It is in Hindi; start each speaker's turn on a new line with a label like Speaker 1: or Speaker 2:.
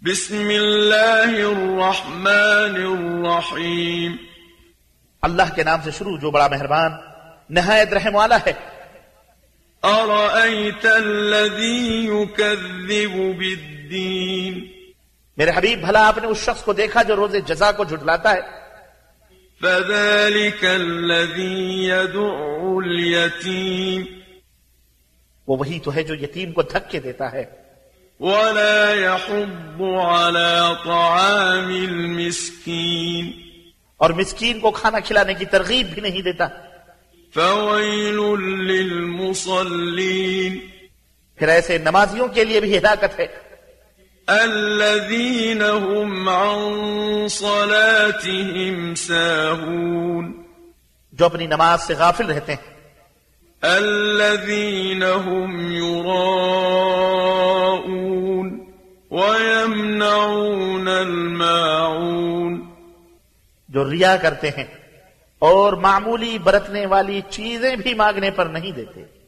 Speaker 1: بسم الله الرحمن الرحيم
Speaker 2: अल्लाह के नाम से शुरू जो बड़ा मेहरबान नहायत रहम वाला है
Speaker 1: أرأيت الذي يكذب بالدين
Speaker 2: मेरे हबीब भला आपने उस शख्स को देखा जो रोजे जजा को झुटलाता है
Speaker 1: فذلك الذي يدع اليتيم
Speaker 2: वो वही तो है जो यतीम को धक्के देता है
Speaker 1: ولا يحض على طعام المسكين
Speaker 2: और मिस्कीन को खाना खिलाने की तरगीब भी नहीं देता
Speaker 1: فويل للمصلين
Speaker 2: फिर ऐसे नमाजियों के लिए भी हिदाकत है
Speaker 1: الذين هم عن صلاتهم ساهون
Speaker 2: जो अपनी नमाज से गाफिल रहते हैं
Speaker 1: الذين هم يراءون ويمنعون الماعون
Speaker 2: जो रिया करते हैं और मामूली बरतने वाली चीजें भी मांगने पर नहीं देते